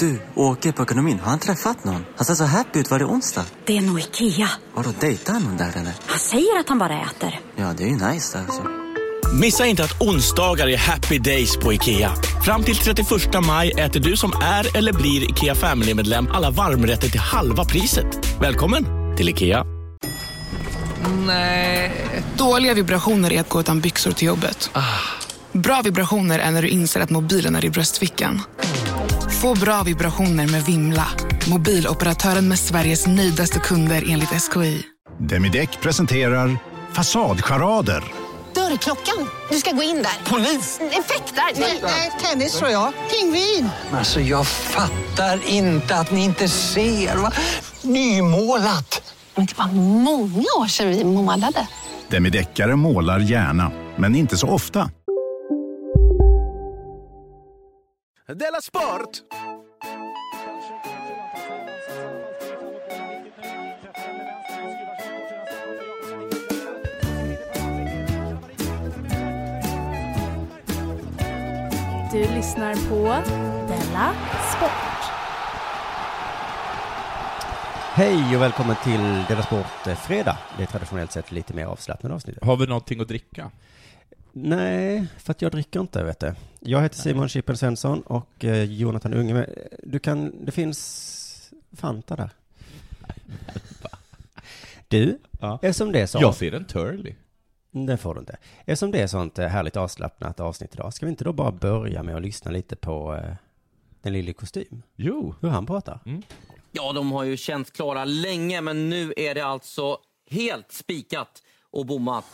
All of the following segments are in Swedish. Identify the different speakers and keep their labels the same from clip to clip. Speaker 1: Du, åker på ekonomin. Har han träffat någon? Han ser så happy ut. Var det onsdag?
Speaker 2: Det är nog Ikea.
Speaker 1: Har du dejtat någon där eller?
Speaker 2: Han säger att han bara äter.
Speaker 1: Ja, det är ju nice alltså.
Speaker 3: Missa inte att onsdagar är happy days på IKEA. Fram till 31 maj äter du som är eller blir IKEA Family-medlem alla varmrätter till halva priset. Välkommen till IKEA.
Speaker 4: Nej. Dåliga vibrationer är att gå utan byxor till jobbet. Bra vibrationer är när du inser att mobilen är i bröstfickan. Få bra vibrationer med Vimla. Mobiloperatören med Sveriges nöjdaste kunder enligt SKI.
Speaker 5: Demideck presenterar Fasadcharader.
Speaker 6: Dörrklockan. Du ska gå in där. Polis? Effektar? Nej, tennis tror jag. Pingvin.
Speaker 7: Alltså jag fattar inte att ni inte ser. Va? Nymålat!
Speaker 6: Men det var många år sedan vi målade.
Speaker 5: Demideckare målar gärna, men inte så ofta.
Speaker 8: Della Sport!
Speaker 9: Du lyssnar på Della Sport.
Speaker 10: Hej och välkommen till Della Sport eh, Fredag. Det är traditionellt sett lite mer avslappnat avsnitt.
Speaker 11: Har vi någonting att dricka?
Speaker 10: Nej, för att jag dricker inte vet du. Jag heter Simon Chippen Svensson och eh, Jonathan Unge. Men Du kan, det finns Fanta där. Du,
Speaker 11: Ja.
Speaker 10: eftersom det är sånt.
Speaker 11: Jag ser en Turley.
Speaker 10: Det får du inte. Eftersom det är sånt eh, härligt avslappnat avsnitt idag, ska vi inte då bara börja med att lyssna lite på eh, den lille i kostym?
Speaker 11: Jo.
Speaker 10: Hur han pratar?
Speaker 12: Ja, de har ju känts klara länge, men nu är det alltså helt spikat och bommat.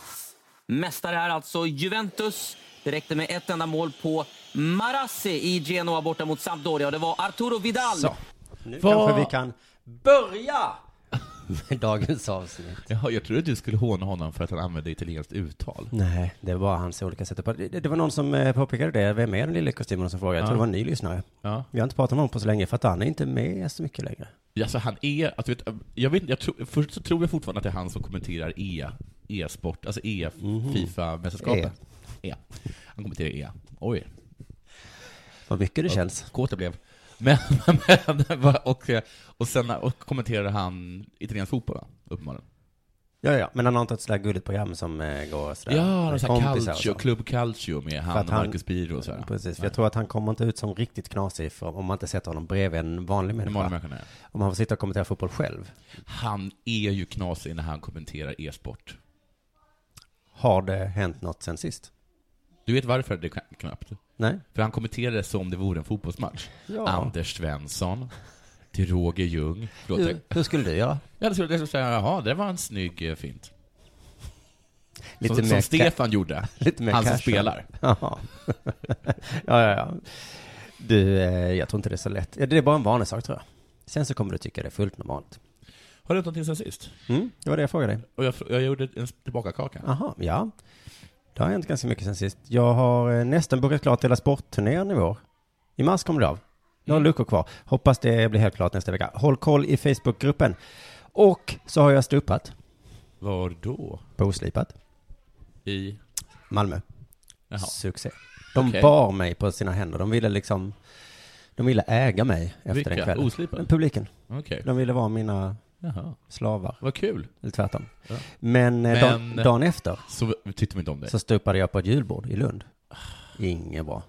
Speaker 12: Mästare är alltså Juventus. Det räckte med ett enda mål på Marassi i Genoa borta mot Sampdoria. Och Det var Arturo Vidal.
Speaker 11: Så.
Speaker 10: Nu
Speaker 11: Vad-
Speaker 10: kanske vi kan börja med dagens avsnitt.
Speaker 11: Jaha, jag trodde du skulle håna honom för att han använde italienskt uttal.
Speaker 10: Nej, det var hans olika sätt att prata. Det det var någon som eh, påpekade det. Vem är den lille kostymen som frågade? Jag tror det var en ny lyssnare.
Speaker 11: Ja.
Speaker 10: Vi har inte pratat med honom på så länge för att han är inte med så mycket längre.
Speaker 11: Alltså han är, alltså, vet, jag vet, jag tror, först så tror jag fortfarande att det är han som kommenterar E, E-sport, alltså E,
Speaker 10: Eh,
Speaker 11: Fifa-mästerskapet. E. Han kommenterar E. Oj,
Speaker 10: Vad mycket det känns.
Speaker 11: kåt jag blev. Men, men vad- och, och sen och kommenterade han italiensk fotboll, va? uppenbarligen.
Speaker 10: Ja, ja, men han har inte ett sådär gulligt program som eh, går sådär.
Speaker 11: Ja, han har så här
Speaker 10: kompisar och
Speaker 11: calcio, Club Calcio med
Speaker 10: För
Speaker 11: han
Speaker 10: att
Speaker 11: och
Speaker 10: han-
Speaker 11: Marcus Biro och så här.
Speaker 10: Precis, för jag tror att han kommer inte ut som riktigt knasig för, om man inte sätter honom bredvid en vanlig
Speaker 11: Hur
Speaker 10: människa.
Speaker 11: många människor är det?
Speaker 10: Om han får sitta och kommentera fotboll själv.
Speaker 11: Han är ju knasig när han kommenterar e-sport.
Speaker 10: Har det hänt något sen sist?
Speaker 11: Du vet varför det kan- knappt?
Speaker 10: Nej?
Speaker 11: För han kommenterade som om det vore en fotbollsmatch.
Speaker 10: Ja.
Speaker 11: Anders Svensson, till Roger Ljung. Förlåt, jag-
Speaker 10: Hur, hur skulle du göra?
Speaker 11: jag skulle liksom säga, jaha, det var en snygg eh, fint.
Speaker 10: Lite
Speaker 11: som,
Speaker 10: mer
Speaker 11: som Stefan gjorde.
Speaker 10: Lite mer
Speaker 11: han som
Speaker 10: casual.
Speaker 11: spelar.
Speaker 10: Jaha. ja, ja, ja. Du, eh, jag tror inte det är så lätt. Ja, Det är bara en vanlig sak tror jag. Sen så kommer du tycka det är fullt normalt.
Speaker 11: Har du gjort någonting sen sist?
Speaker 10: Mm, det var det jag frågade dig.
Speaker 11: Och jag, fr- jag gjorde en tillbakakaka.
Speaker 10: Jaha, ja. Det har hänt ganska mycket sen sist. Jag har eh, nästan bokat klart hela sportturnén i vår. I mars kommer det av. Några
Speaker 11: Mm.
Speaker 10: luckor kvar. Hoppas det blir helt klart nästa vecka. Håll koll i Facebookgruppen. Och så har jag stupat,
Speaker 11: Var då?
Speaker 10: boslipat,
Speaker 11: I?
Speaker 10: Malmö.
Speaker 11: Jaha.
Speaker 10: Succé. De
Speaker 11: Okej.
Speaker 10: bar mig på sina händer. De ville liksom, de ville äga mig efter den
Speaker 11: Vilka?
Speaker 10: kvällen.
Speaker 11: Oslipade?
Speaker 10: Men Publiken.
Speaker 11: Okej.
Speaker 10: De ville vara mina
Speaker 11: Jaha.
Speaker 10: slavar.
Speaker 11: Vad kul.
Speaker 10: Eller tvärtom.
Speaker 11: Ja.
Speaker 10: Men, eh, dagen,
Speaker 11: Men-
Speaker 10: dagen efter
Speaker 11: Så tyckte de inte om dig.
Speaker 10: så stupade jag på ett julbord i Lund. Inget bra.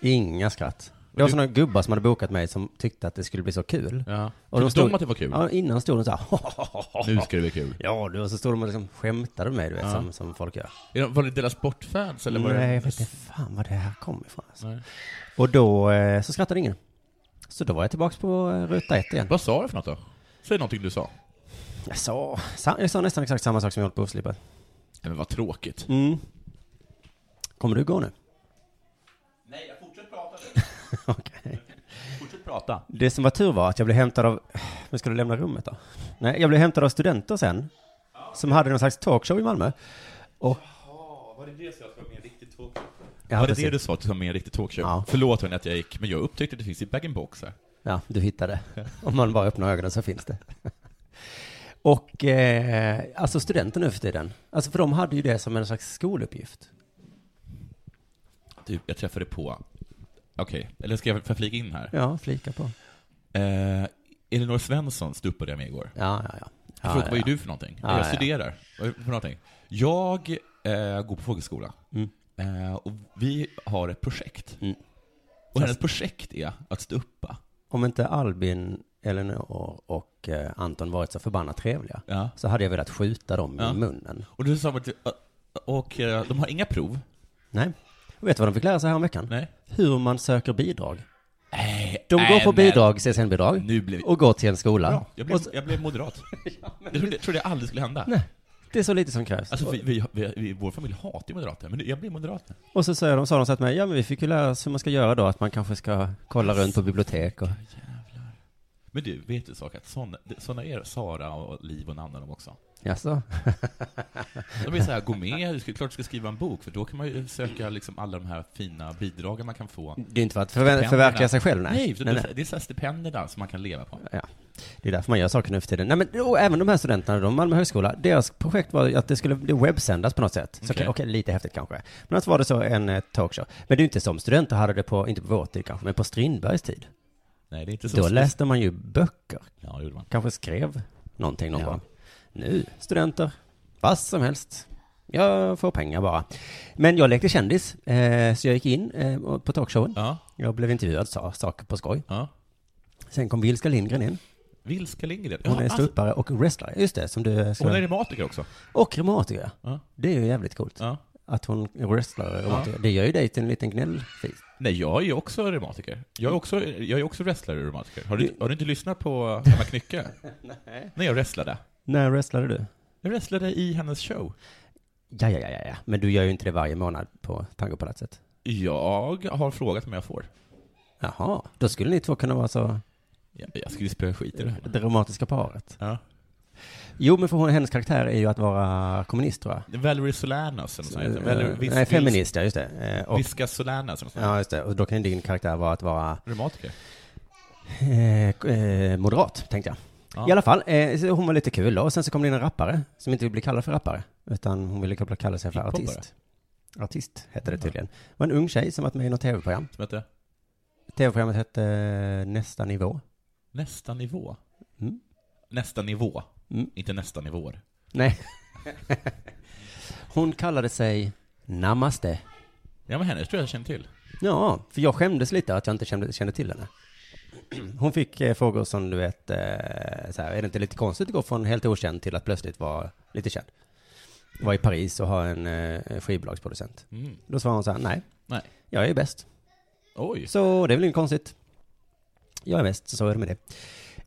Speaker 10: Inga skratt. Det var sådana gubbar som hade bokat mig som tyckte att det skulle bli så kul.
Speaker 11: Ja.
Speaker 10: Och
Speaker 11: Tyckte de att det var kul?
Speaker 10: Ja, innan stod de så här.
Speaker 11: Nu ska det bli kul.
Speaker 10: Ja, du, och så stod de och liksom skämtade med mig, du vet, som, som folk gör.
Speaker 11: Är de- Var det deras sportfans eller var
Speaker 10: Nej, jag
Speaker 11: det...
Speaker 10: vet inte fan var det här kom ifrån. Alltså.
Speaker 11: Nej.
Speaker 10: Och då eh, så skrattade ingen. Så då var jag tillbaka på eh, ruta ett igen.
Speaker 11: Vad sa du för något då? Säg någonting du sa.
Speaker 10: Jag sa, sa- jag sa nästan exakt samma sak som jag hållit på att slipa.
Speaker 11: Nej, Men vad tråkigt.
Speaker 10: Mm. Kommer du gå nu?
Speaker 11: Nej, jag fortsätter prata
Speaker 10: Okej.
Speaker 11: Fortsätt prata.
Speaker 10: Det som var tur var att jag blev hämtad av... Men ska du lämna rummet då? Nej, jag blev hämtad av studenter sen. Som hade någon slags talkshow i Malmö. Och...
Speaker 11: Var det det som jag ska med en riktig talkshow?
Speaker 10: Ja,
Speaker 11: var det
Speaker 10: precis.
Speaker 11: det du sa att du ska med en riktig talkshow?
Speaker 10: Ja.
Speaker 11: Förlåt hörni att jag gick, men jag upptäckte att det finns i bag-in-box här.
Speaker 10: Ja, du hittade. Om man bara öppnar ögonen så finns det. Och eh, alltså studenter nu för tiden. Alltså för de hade ju det som en slags skoluppgift.
Speaker 11: Typ, jag träffade på... Okej, eller ska jag förflika in här?
Speaker 10: Ja, flika på.
Speaker 11: Eh, Elinor Svensson stupade jag med igår.
Speaker 10: Ja, ja, ja.
Speaker 11: Jag
Speaker 10: Ja,
Speaker 11: frågade,
Speaker 10: ja,
Speaker 11: vad
Speaker 10: ja.
Speaker 11: är du för någonting?
Speaker 10: Ja,
Speaker 11: jag
Speaker 10: ja, ja.
Speaker 11: studerar. Vad är du för någonting? Jag eh, går på folkhögskola.
Speaker 10: Mm.
Speaker 11: Eh, och vi har ett projekt. Och hennes projekt är att stå uppa.
Speaker 10: Om inte Albin, Elinor och eh, Anton varit så förbannat trevliga så hade jag velat skjuta dem
Speaker 11: Ja.
Speaker 10: i munnen.
Speaker 11: Och du sa man till- och eh, de har inga prov.
Speaker 10: Nej. Och vet du vad de fick lära sig häromveckan?
Speaker 11: Nej.
Speaker 10: Hur man söker bidrag.
Speaker 11: Nej,
Speaker 10: De går
Speaker 11: nej,
Speaker 10: på
Speaker 11: men-
Speaker 10: bidrag, CSN-bidrag,
Speaker 11: Nu blev-
Speaker 10: och går till en skola.
Speaker 11: Bra. Jag
Speaker 10: Och
Speaker 11: blev,
Speaker 10: så,
Speaker 11: jag blev moderat. Jag trodde, jag trodde det aldrig skulle hända.
Speaker 10: Nej. det är så lite som krävs.
Speaker 11: Alltså, vi, vi, vi, vi, vår familj hatar ju moderater, men nu- jag blev moderat.
Speaker 10: Och så säger de, sa de så att mig, ja men vi fick ju lära oss hur man ska göra då, att man kanske ska kolla runt på bibliotek och...
Speaker 11: Men du, vet du en sak? Att såna, såna är Sara och Liv och Nanna de också.
Speaker 10: Jaså?
Speaker 11: De är så här, gå med, du ska, klart du ska skriva en bok, för då kan man ju söka liksom alla de här fina bidragen man kan få.
Speaker 10: Det är inte för att förvä-
Speaker 11: Stipendierna.
Speaker 10: förverkliga sig själv, Mm. nej.
Speaker 11: Nej, för
Speaker 10: Nej,
Speaker 11: det-
Speaker 10: nej.
Speaker 11: det är så här stipendierna som man kan leva på.
Speaker 10: Ja. Det är därför man gör saker nu för tiden. Nej men och även de här studenterna då, Malmö högskola, deras projekt var ju att det skulle det webbsändas på något sätt. Så
Speaker 11: Okej.
Speaker 10: okej, lite häftigt kanske. Men att var det så en eh, talkshow. Men det är ju inte som studenter hade det på, inte på vår tid kanske, men på Strindbergs tid.
Speaker 11: Nej, det är inte så.
Speaker 10: Då läste man ju böcker.
Speaker 11: Ja, det gjorde man.
Speaker 10: Kanske skrev någonting någon gång. Nu, studenter, vad som helst. Jag får pengar bara. Men jag lekte kändis, eh, så jag gick in eh, och- på talkshowen. Jag blev intervjuad, sa saker på skoj. Sen kom Vilska Lindgren in.
Speaker 11: Vilska Lindgren.
Speaker 10: Hon
Speaker 11: Ja,
Speaker 10: är
Speaker 11: alltså,
Speaker 10: ståuppare och wrestler, just det, som du
Speaker 11: hon är reumatiker också.
Speaker 10: Och reumatiker, ja.
Speaker 11: Ja.
Speaker 10: Det är ju jävligt coolt.
Speaker 11: Ja.
Speaker 10: Att hon är wrestlare och reumatiker.
Speaker 11: Ja.
Speaker 10: Det gör ju dig till en liten gnällfis.
Speaker 11: Nej, jag är ju också reumatiker. Jag är också, jag är också wrestlare och reumatiker. Har du, har du inte lyssnat på Emma Knycke? Nej. När jag wrestlade.
Speaker 10: När wrestlade du?
Speaker 11: Jag wrestlade i hennes show.
Speaker 10: Ja, ja, ja, ja, ja. Men du gör ju inte det varje månad på Tangopalatset.
Speaker 11: Jag har frågat om jag får.
Speaker 10: Jaha, då skulle ni två kunna vara så...
Speaker 11: Jag, jag skulle spöa skit i det här.
Speaker 10: Det romantiska paret.
Speaker 11: Ja.
Speaker 10: Jo, men för hon, hennes karaktär är ju att vara kommunist, tror jag.
Speaker 11: Valerie Solanas eller nåt sånt.
Speaker 10: Eh,
Speaker 11: heter. Valerie- Vis-
Speaker 10: nej,
Speaker 11: Vis-
Speaker 10: feminist, ja, just det. Eh, och-
Speaker 11: Viska Solanas eller nåt sånt.
Speaker 10: Ja, just det. Och då kan ju din karaktär vara att vara
Speaker 11: Reumatiker.
Speaker 10: eh, eh, moderat, tänkte jag.
Speaker 11: Ja.
Speaker 10: I alla fall, eh, så hon var lite kul då. Och sen så kom det in en rappare som inte ville bli kallad för rappare, utan hon ville kalla sig för
Speaker 11: Hiphopare.
Speaker 10: artist. Artist hette det tydligen. Det var en ung tjej som varit med i något tv-program.
Speaker 11: Som heter
Speaker 10: Tv-programmet hette eh, Nästa nivå.
Speaker 11: Nästa nivå.
Speaker 10: Mm.
Speaker 11: Nästa nivå. Inte nästa nivåer.
Speaker 10: Nej. hon kallade sig Namaste.
Speaker 11: Ja, men henne tror jag jag känner till.
Speaker 10: Ja, för jag skämdes lite att jag inte kände, kände till henne. Hon fick eh, frågor som du vet, eh, så här, är det inte lite konstigt att gå från helt okänd till att plötsligt vara lite känd? Var i Paris och ha en eh, skivbolagsproducent.
Speaker 11: Mm.
Speaker 10: Då svarade hon så här, nej,
Speaker 11: Nej.
Speaker 10: jag är bäst.
Speaker 11: Oj.
Speaker 10: Så det är väl inget konstigt. Jag är bäst, så är det med det.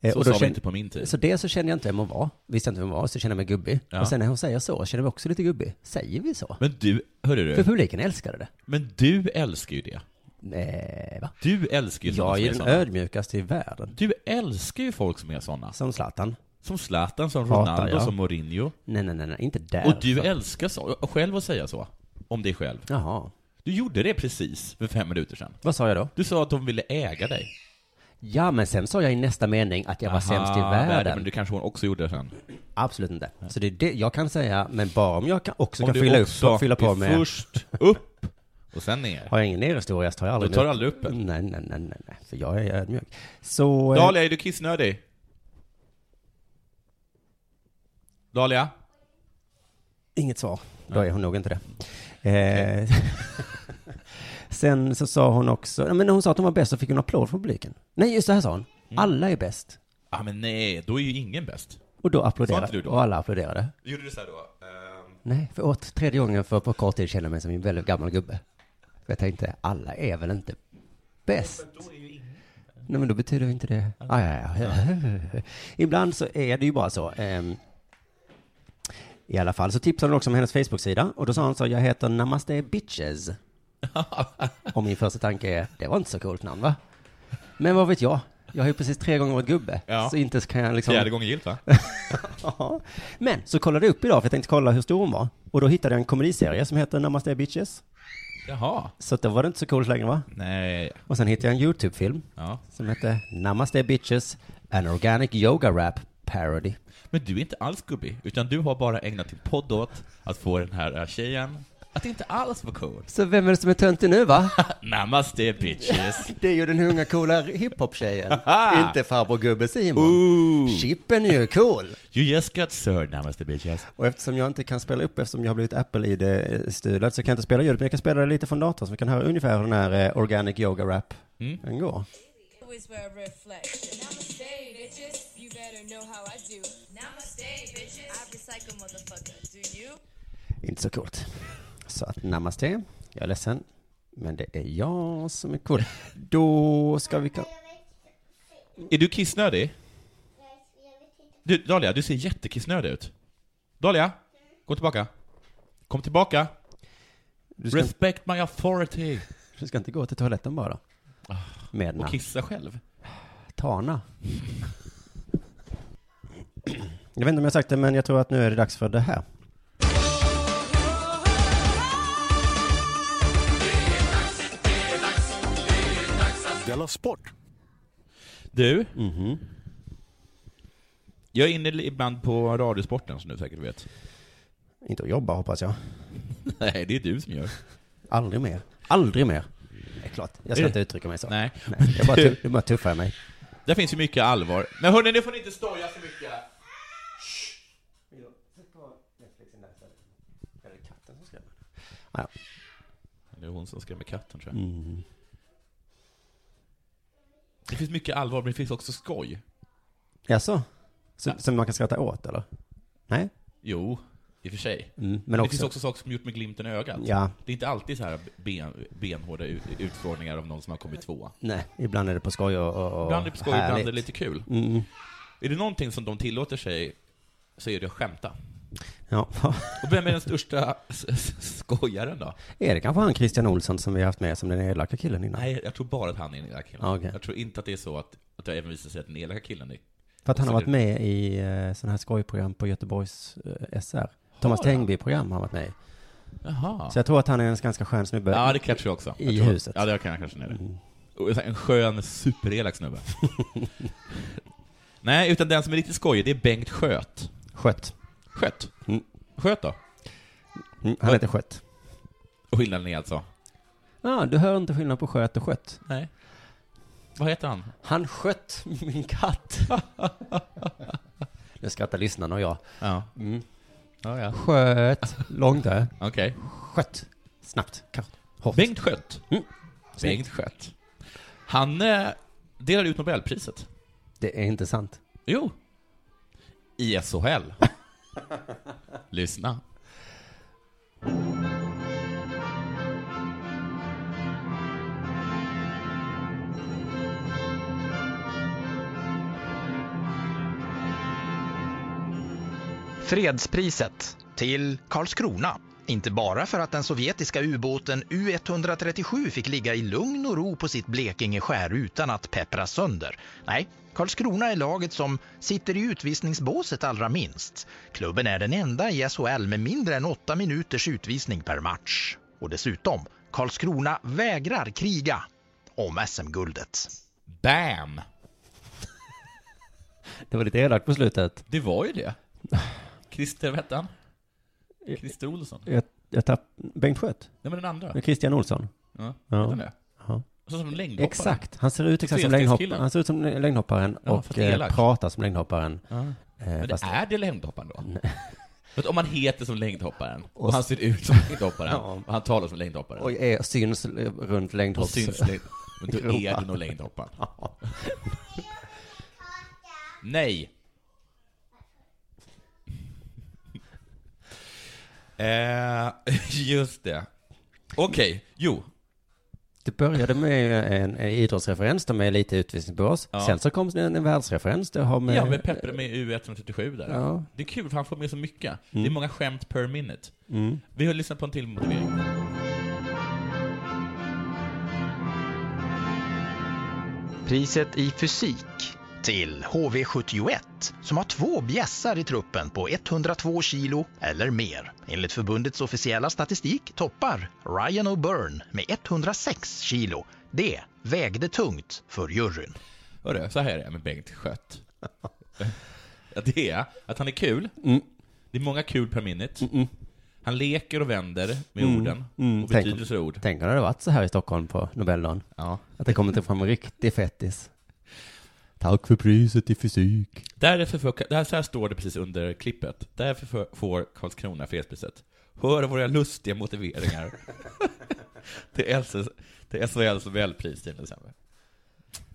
Speaker 10: Eh,
Speaker 11: Så sa vi
Speaker 10: känn-
Speaker 11: inte på min tid.
Speaker 10: Så det så kände jag inte vem hon var. Visste inte vem hon var, så kände jag mig gubbig.
Speaker 11: Ja.
Speaker 10: Och sen när hon säger så, känner jag mig också lite gubbig. Säger vi så?
Speaker 11: Men du, hörru du.
Speaker 10: För publiken älskade det.
Speaker 11: Men du älskar ju det.
Speaker 10: Nej, va?
Speaker 11: Du älskar ju såna
Speaker 10: Jag är
Speaker 11: som
Speaker 10: den
Speaker 11: är såna.
Speaker 10: ödmjukaste i världen.
Speaker 11: Du älskar ju folk som är såna.
Speaker 10: Som Zlatan.
Speaker 11: Som Zlatan, som
Speaker 10: Hatar
Speaker 11: Ronaldo,
Speaker 10: jag.
Speaker 11: som Mourinho.
Speaker 10: Nej, nej, nej, nej inte där.
Speaker 11: Och du älskar så, själv att säga så. Om dig själv.
Speaker 10: Jaha.
Speaker 11: Du gjorde det precis för fem minuter sedan.
Speaker 10: Vad sa jag då?
Speaker 11: Du sa att de ville äga dig.
Speaker 10: Ja, men sen sa jag i nästa mening att jag var sämst i
Speaker 11: Aha,
Speaker 10: världen.
Speaker 11: Men det kanske hon också gjorde sen.
Speaker 10: Absolut inte. Så det är det jag kan säga, men bara om jag kan också
Speaker 11: Om
Speaker 10: kan
Speaker 11: du
Speaker 10: fylla,
Speaker 11: också
Speaker 10: upp, fylla på
Speaker 11: är
Speaker 10: med...
Speaker 11: först upp och sen ner.
Speaker 10: Har jag ingen nerhistoria så tar jag aldrig
Speaker 11: Då tar du aldrig upp en.
Speaker 10: Nej, nej, nej, nej, nej, för jag är ödmjuk. Så... eh,
Speaker 11: Dahlia, är du kissnödig? Dahlia?
Speaker 10: eh, Inget svar. Då är hon nog inte det. Eh, sen så sa hon också, Ja, men när hon sa att hon var bäst så fick hon applåd från publiken. Nej, just det här sa hon.
Speaker 11: Mm.
Speaker 10: Alla är bäst.
Speaker 11: Ja, men nej, då är ju ingen bäst.
Speaker 10: Och då
Speaker 11: Sa inte
Speaker 10: applåderade,
Speaker 11: du då?
Speaker 10: och alla applåderade.
Speaker 11: Gjorde du så här då? Ehm,
Speaker 10: Nej, för åt tredje gången för på kort tid känner jag mig som en väldigt gammal gubbe. För Jag tänkte, alla är väl inte bäst? Nej, men då betyder ju inte det... Ah, ja, ja. Ibland så är det ju bara så. ehm. I alla fall så tipsade hon också om hennes Facebook-sida och då sa hon så, jag heter Namaste Bitches. och min första tanke är, det var inte så coolt namn va? Men vad vet jag? Jag har ju precis tre gånger varit gubbe,
Speaker 11: Ja.
Speaker 10: så inte kan jag liksom...
Speaker 11: Fjärde gången gillt, va?
Speaker 10: Ja. Men så kollade jag upp idag för jag tänkte kolla hur stor hon var. Och då hittade jag en komediserie som heter Namaste Bitches.
Speaker 11: Jaha.
Speaker 10: Så att då var det inte så coolt längre va?
Speaker 11: Nej.
Speaker 10: Och sen hittade jag en YouTube-film
Speaker 11: Ja.
Speaker 10: som hette Namaste Bitches, an organic yoga rap parody.
Speaker 11: Men du är inte alls gubbig, utan du har bara ägnat din podd åt att få den här eh, tjejen Att det inte alls var coolt.
Speaker 10: Så vem är det som är töntig nu va?
Speaker 11: Namaste bitches.
Speaker 10: Det är ju den unga coola hiphop-tjejen.
Speaker 11: Haha.
Speaker 10: inte farbror gubbe Simon. Chippen är ju cool.
Speaker 11: You just got served namaste bitches.
Speaker 10: Och eftersom jag inte kan spela upp, eftersom jag har blivit Apple-id-stulad, så kan jag inte spela ljudet, men jag kan spela det lite från datorn, så vi kan höra ungefär hur den här eh, Organic Yoga Rap den går.
Speaker 13: always wear a red flex. Namaste, bitches. You better know how I do. Namaste, bitches. I recycle, motherfucker. Do you?
Speaker 10: Inte så coolt. Så att namaste, jag är ledsen, men det är jag som är cool. Då ska vi... ka-
Speaker 11: Är du kissnödig? Du, Dahlia, du ser jättekissnödig ut. Dahlia, gå tillbaka. Kom tillbaka.
Speaker 10: ska-
Speaker 11: Respect my authority.
Speaker 10: Du ska inte gå till toaletten bara? Med
Speaker 11: Och kissa själv.
Speaker 10: Tana. Jag vet inte om jag har sagt det, men jag tror att nu är det dags för det här.
Speaker 8: Della Sport.
Speaker 11: Du? Jag är inne ibland på Radiosporten som du säkert vet.
Speaker 10: Inte att jobba hoppas jag.
Speaker 11: Nej, det är du som gör.
Speaker 10: Aldrig mer. Aldrig mer. Det är klart, jag
Speaker 11: Är
Speaker 10: ska
Speaker 11: det-
Speaker 10: inte uttrycka mig så.
Speaker 11: Nej.
Speaker 10: jag bara, tu- jag bara tuffar mig.
Speaker 11: Där finns ju mycket allvar. Men hörni, nu får ni inte stoja så mycket.
Speaker 10: Ja.
Speaker 11: Det är hon som skrämmer katten tror jag. Det finns mycket allvar, men det finns också skoj.
Speaker 10: Jaså? Så, Som man kan skratta åt eller? Nej?
Speaker 11: Jo, i och för sig.
Speaker 10: Mm, men
Speaker 11: det
Speaker 10: också-
Speaker 11: finns också saker som gjort med glimten i ögat.
Speaker 10: Ja.
Speaker 11: Det är inte alltid så här ben, benhårda ut- utfrågningar av någon som har kommit tvåa.
Speaker 10: Nej, ibland är det på skoj och, och, och
Speaker 11: Ibland är det på skoj, ibland är det
Speaker 10: härligt.
Speaker 11: lite kul.
Speaker 10: Mm.
Speaker 11: Är det någonting som de tillåter sig så är det att skämta.
Speaker 10: Ja.
Speaker 11: Och vem är den största s- s- skojaren då?
Speaker 10: är det kanske han Christian Olsson som vi har haft med som den elaka killen innan?
Speaker 11: Nej, jag tror bara att han är den elaka killen.
Speaker 10: Ah, okej.
Speaker 11: Jag tror inte att det är så att, att det även visar sig att den elaka killen är...
Speaker 10: För att han har
Speaker 11: också
Speaker 10: varit med i eh, sådana här skojprogram på Göteborgs eh, SR. Thomas
Speaker 11: han?
Speaker 10: Tengby-program har han varit med i.
Speaker 11: Jaha.
Speaker 10: Så jag tror att han är en ganska skön snubbe.
Speaker 11: Ja, det kanske jag också.
Speaker 10: I
Speaker 11: jag tror-
Speaker 10: huset.
Speaker 11: Ja, det kan jag kanske nere. En skön, superelak snubbe. Nej, utan den som är riktigt skojig, det är Bengt Sköt.
Speaker 10: Skött.
Speaker 11: Sköt? Sköt då?
Speaker 10: Mm, han heter Skött.
Speaker 11: Och skillnaden är alltså?
Speaker 10: Ja, du hör inte skillnad på sköt och skött.
Speaker 11: Nej. Vad heter han?
Speaker 10: Han skött min katt. nu skrattar lyssnarna och jag.
Speaker 11: Ja.
Speaker 10: Mm.
Speaker 11: Ja, ja.
Speaker 10: Sköt. Långt där.
Speaker 11: Okej.
Speaker 10: Skött. Snabbt. Kort. Hårt.
Speaker 11: Bengt Skött.
Speaker 10: Mm.
Speaker 11: Bengt Skött. Han eh, delar ut Nobelpriset.
Speaker 10: Det är inte sant.
Speaker 11: Jo. I SHL. Lyssna.
Speaker 14: Fredspriset till Karlskrona. Inte bara för att den sovjetiska ubåten U137 fick ligga i lugn och ro på sitt Blekinge-skär utan att peppras sönder. Nej, Karlskrona är laget som sitter i utvisningsbåset allra minst. Klubben är den enda i SHL med mindre än åtta minuters utvisning per match. Och dessutom, Karlskrona vägrar kriga om SM-guldet.
Speaker 11: Bam!
Speaker 10: Det var lite elakt på slutet.
Speaker 11: Det var ju det. Christer, vad hette han? Christer Olsson?
Speaker 10: Jag, jag tapp... Bengt Skött?
Speaker 11: Nej, men den andra.
Speaker 10: Christian Olsson?
Speaker 11: Ja,
Speaker 10: Ja.
Speaker 11: vet han det?
Speaker 10: Ja.
Speaker 11: Så som en längdhoppare.
Speaker 10: Exakt. Han ser ut exakt som längdhopparen.
Speaker 11: Trestegskillen.
Speaker 10: Han ser ut som längdhopparen
Speaker 11: Ja,
Speaker 10: och
Speaker 11: fast elak.
Speaker 10: eh, pratar som längdhopparen.
Speaker 11: Ja.
Speaker 10: Eh,
Speaker 11: Men det
Speaker 10: fast-
Speaker 11: är det längdhopparen då? För att om man heter som längdhopparen, och, han ser ut som längdhopparen,
Speaker 10: Ja.
Speaker 11: och han talar som längdhopparen,
Speaker 10: Och är, syns eh, runt
Speaker 11: och
Speaker 10: längdhopps...
Speaker 11: syns längd... Men då är du nog längdhopparen. Nej! eh, just det. Okej, jo.
Speaker 10: Det började med eh, en, en idrottsreferens, de är lite utvisningsbås.
Speaker 11: Ja.
Speaker 10: Sen så kom det en, en världsreferens, det har med...
Speaker 11: Ja, med Peppe med U137 där.
Speaker 10: Ja.
Speaker 11: Det är kul, för han får med så mycket. Det är
Speaker 10: Mm.
Speaker 11: många skämt per minute.
Speaker 10: Mm.
Speaker 11: Vi har lyssnat på en till motivering.
Speaker 14: Priset i fysik till HV71 som har två bjässar i truppen på 102 kilo eller mer. Enligt förbundets officiella statistik toppar Ryan O'Byrne med 106 kilo. Det vägde tungt för juryn.
Speaker 11: Hörru, så här är det med Bengt Skött.
Speaker 10: Mm.
Speaker 11: Att det är att han är kul. Det är många kul per minute. Han leker och vänder med
Speaker 10: Mm,
Speaker 11: orden
Speaker 10: mm,
Speaker 11: och
Speaker 10: tänk-
Speaker 11: betydelser och ord.
Speaker 10: Tänk om det hade varit så här i Stockholm på Nobeldagen.
Speaker 11: Ja.
Speaker 10: Att det kommer fram en riktig fettis. Tack för priset i fysik.
Speaker 11: Därför får, det här, så här står det precis under klippet. Därför får- får Karlskrona fredspriset. Hör våra lustiga motiveringar. alltså- till, SS, till SHLs välpris till december.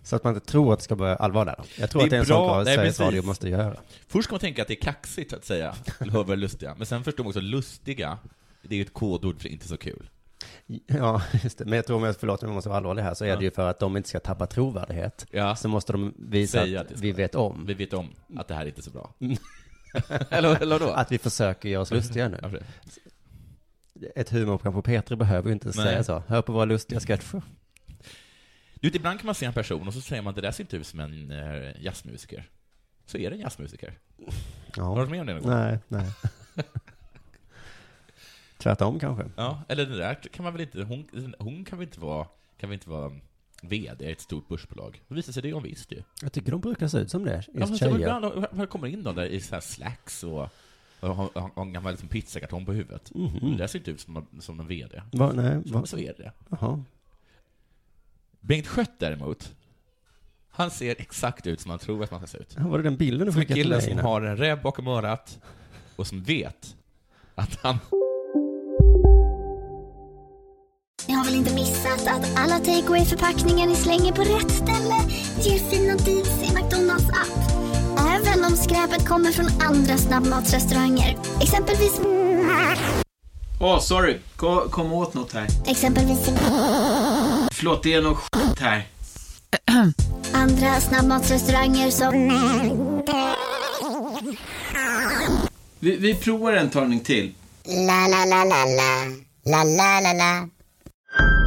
Speaker 10: Så att man inte tror att det ska börja allvar där. Jag tror
Speaker 11: Det är
Speaker 10: att det är en
Speaker 11: bra.
Speaker 10: sån
Speaker 11: Nej,
Speaker 10: grej Sveriges
Speaker 11: precis.
Speaker 10: Radio måste göra.
Speaker 11: Först ska man tänka att det är kaxigt att säga hör våra lustiga, men sen förstår man också lustiga, det är ju ett kodord för inte så kul.
Speaker 10: Ja, just det. Men jag tror, om jag förlåt, om jag måste vara allvarlig här, så är det ju för att de inte ska tappa trovärdighet. Så måste de visa
Speaker 11: Säga
Speaker 10: att
Speaker 11: det.
Speaker 10: vi vet om.
Speaker 11: Vi vet om att det här är inte så bra. eller, eller då?
Speaker 10: Att vi försöker göra oss lustiga
Speaker 11: Ja,
Speaker 10: nu.
Speaker 11: precis.
Speaker 10: Ett humorprogram på Petri behöver ju inte
Speaker 11: Nej.
Speaker 10: säga så. Hör på våra lustiga sketcher.
Speaker 11: Du vet, ibland kan man se en person och så säger man det där ser inte ut som en eh, jazzmusiker. Så är det en jazzmusiker.
Speaker 10: Ja.
Speaker 11: Har du varit med om det någon gång?
Speaker 10: Nej, nej. Tvärtom kanske.
Speaker 11: Ja, eller det där kan man väl inte, hon, hon kan väl inte vara, kan väl inte vara VD i ett stort börsbolag? Det visar sig det är hon visst ju.
Speaker 10: Jag tycker de brukar se ut som det, just
Speaker 11: Ja, men så
Speaker 10: tjejer.
Speaker 11: ibland har- har- kommer in de där i så här slacks och, och har, har har en gammal liksom pizzakartong på huvudet.
Speaker 10: Mhm.
Speaker 11: Det där ser inte ut som, som en VD.
Speaker 10: Va, nej,
Speaker 11: så,
Speaker 10: va?
Speaker 11: så är det.
Speaker 10: Jaha.
Speaker 11: Bengt Schött däremot, han ser exakt ut som man tror att man ska se ut.
Speaker 10: Ja, var det den bilden du
Speaker 11: Som en
Speaker 10: skickade till
Speaker 11: kille
Speaker 10: mig
Speaker 11: som
Speaker 10: nu?
Speaker 11: har en räv bakom örat och som vet att han...
Speaker 15: Ni har väl inte missat att alla takeaway förpackningar ni slänger på rätt ställe ger fina deals i McDonalds app. Även om skräpet kommer från andra snabbmatsrestauranger. Exempelvis...
Speaker 16: Åh, sorry. Kom, kom åt något här.
Speaker 15: Exempelvis...
Speaker 16: Förlåt, det är något skit här.
Speaker 15: Andra snabbmatsrestauranger som...
Speaker 16: Vi, vi provar en talning till.
Speaker 15: La, la, la, la, la. La, la, la, la.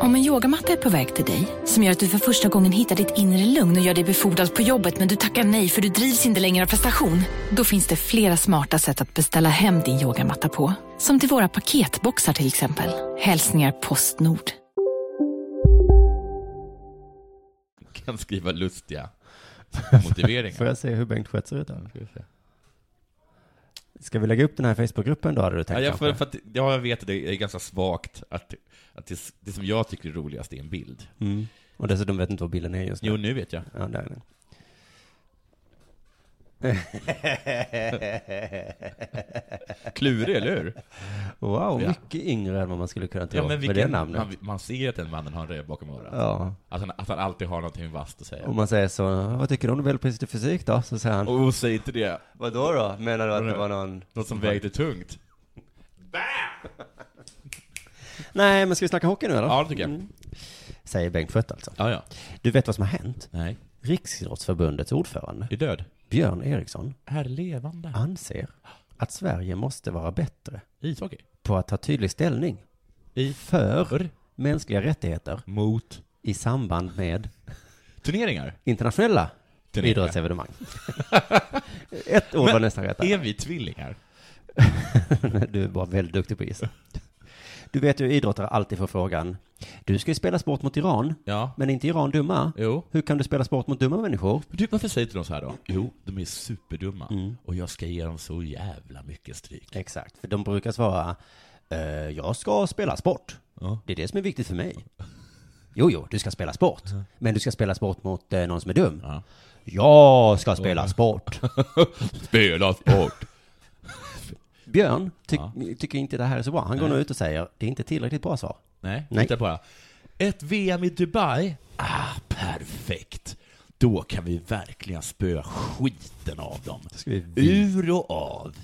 Speaker 17: Om en yogamatta är på väg till dig, som gör att du för första gången hittar ditt inre lugn och gör dig befordrad på jobbet men du tackar nej för du drivs inte längre av prestation. Då finns det flera smarta sätt att beställa hem din yogamatta på. Som till våra paketboxar till exempel. Hälsningar Postnord.
Speaker 11: kan skriva lustiga motiveringar.
Speaker 10: Får jag se hur Bengt Schött ser ut då? Ska vi lägga upp den här Facebookgruppen då, hade du tänkt
Speaker 11: Ja, jag, för,
Speaker 10: kanske?
Speaker 11: för att, ja, jag vet att det är ganska svagt att, att det, det som jag tycker är roligast är en bild.
Speaker 10: Mm. Och dessutom vet du inte vad bilden är just nu.
Speaker 11: Jo, nu vet jag.
Speaker 10: Ja, där är den.
Speaker 11: Klurig, eller hur?
Speaker 10: Wow,
Speaker 11: Ja.
Speaker 10: mycket yngre än vad man skulle kunna tro
Speaker 11: Ja, men
Speaker 10: med det
Speaker 11: vilken,
Speaker 10: namnet.
Speaker 11: man, man ser att den mannen har en räv bakom örat.
Speaker 10: Ja. Mm.
Speaker 11: Att, han, att han alltid har någonting vasst att säga.
Speaker 10: Om man säger så, vad tycker du om Nobelpriset i fysik då? Så säger han,
Speaker 11: Och säg inte det.
Speaker 10: Vadå då? Menar du att det var någon...
Speaker 11: Något som vägde tungt?
Speaker 10: nej men ska vi snacka hockey nu eller?
Speaker 11: Ja, det tycker jag.
Speaker 10: Mm. Säger Bengt Schött alltså.
Speaker 11: Ja, ja.
Speaker 10: Du vet vad som har hänt?
Speaker 11: Nej.
Speaker 10: Riksidrottsförbundets ordförande.
Speaker 11: Är död.
Speaker 10: Björn Eriksson
Speaker 11: Här levande.
Speaker 10: anser att Sverige måste vara bättre
Speaker 11: I ishockey?
Speaker 10: på att ta tydlig ställning
Speaker 11: i
Speaker 10: för mänskliga rättigheter
Speaker 11: mot
Speaker 10: i samband med
Speaker 11: turneringar
Speaker 10: internationella
Speaker 11: Turneringar.
Speaker 10: idrottsevenemang. Ett ord var
Speaker 11: Men
Speaker 10: nästan rätt. där.
Speaker 11: Är vi tvillingar?
Speaker 10: du är bara väldigt duktig på att gissa. Du vet ju idrottare alltid får frågan. Du ska ju spela sport mot Iran.
Speaker 11: Ja.
Speaker 10: Men är inte Iran dumma?
Speaker 11: Jo.
Speaker 10: Hur kan du spela sport mot dumma människor?
Speaker 11: Du, varför säger inte de så här då? Jo, de är superdumma.
Speaker 10: Mm.
Speaker 11: Och jag ska ge dem så jävla mycket stryk.
Speaker 10: Exakt, för de brukar svara. "Eh, jag ska spela sport. Det är det som är viktigt för mig. Jo, jo, du ska spela sport. Men du ska spela sport mot eh, någon som är dum. Jag ska spela sport.
Speaker 11: Spela sport.
Speaker 10: Björn ty- tycker inte det här är så bra. Han går
Speaker 11: Nej.
Speaker 10: nu ut och säger det är inte tillräckligt bra svar.
Speaker 11: Nej,
Speaker 10: Nej.
Speaker 11: titta bara. Ett VM i Dubai? Ah, perfekt. Då kan vi verkligen spöa skiten av dem. Ur och av.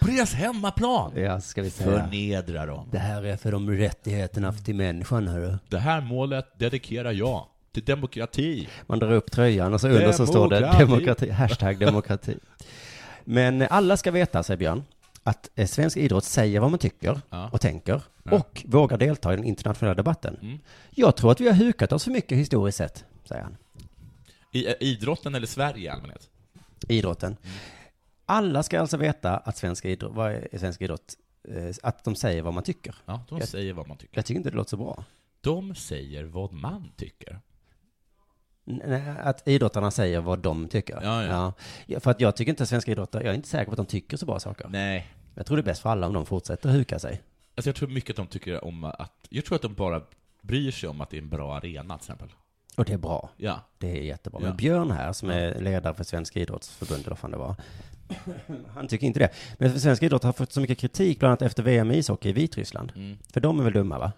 Speaker 11: På deras hemmaplan.
Speaker 10: Ja, ska vi säga.
Speaker 11: Förnedra dem.
Speaker 10: Det här är för de rättigheterna till människan, hörru.
Speaker 11: Det här målet dedikerar jag till demokrati.
Speaker 10: Man drar upp tröjan och så under så står det
Speaker 11: Demokrati.
Speaker 10: demokrati, hashtag demokrati. Men eh, alla ska veta, säger Björn, att eh, svensk idrott säger vad man tycker
Speaker 11: Ja.
Speaker 10: och tänker
Speaker 11: Ja.
Speaker 10: och vågar delta i den internationella debatten.
Speaker 11: Mm.
Speaker 10: Jag tror att vi har hukat oss för mycket historiskt sett, säger han.
Speaker 11: I, eh, idrotten eller Sverige i allmänhet?
Speaker 10: idrotten. Alla ska alltså veta att svensk idrott, vad är svensk idrott? Eh, Att de säger vad man tycker.
Speaker 11: Ja, de
Speaker 10: jag,
Speaker 11: säger vad man tycker.
Speaker 10: Jag tycker inte det låter så bra.
Speaker 11: De säger vad man tycker.
Speaker 10: N- nej, Att idrottarna säger vad de tycker.
Speaker 11: Ja, ja.
Speaker 10: Ja, För att jag tycker inte att svenska idrottare, jag är inte säker på att de tycker så bra saker.
Speaker 11: Nej.
Speaker 10: Jag tror det är bäst för alla om de fortsätter huka sig.
Speaker 11: Alltså jag tror mycket att de tycker om att, jag tror att de bara bryr sig om att det är en bra arena till exempel.
Speaker 10: Och det är bra.
Speaker 11: Ja.
Speaker 10: Det är jättebra.
Speaker 11: Ja.
Speaker 10: Men Björn här, som är ledare för Svenska idrottsförbundet, eller vad fan det var, han tycker inte det. Men svenska idrott har fått så mycket kritik, bland annat efter VM i ishockey i Vitryssland.
Speaker 11: Mm.
Speaker 10: För de är väl dumma, va?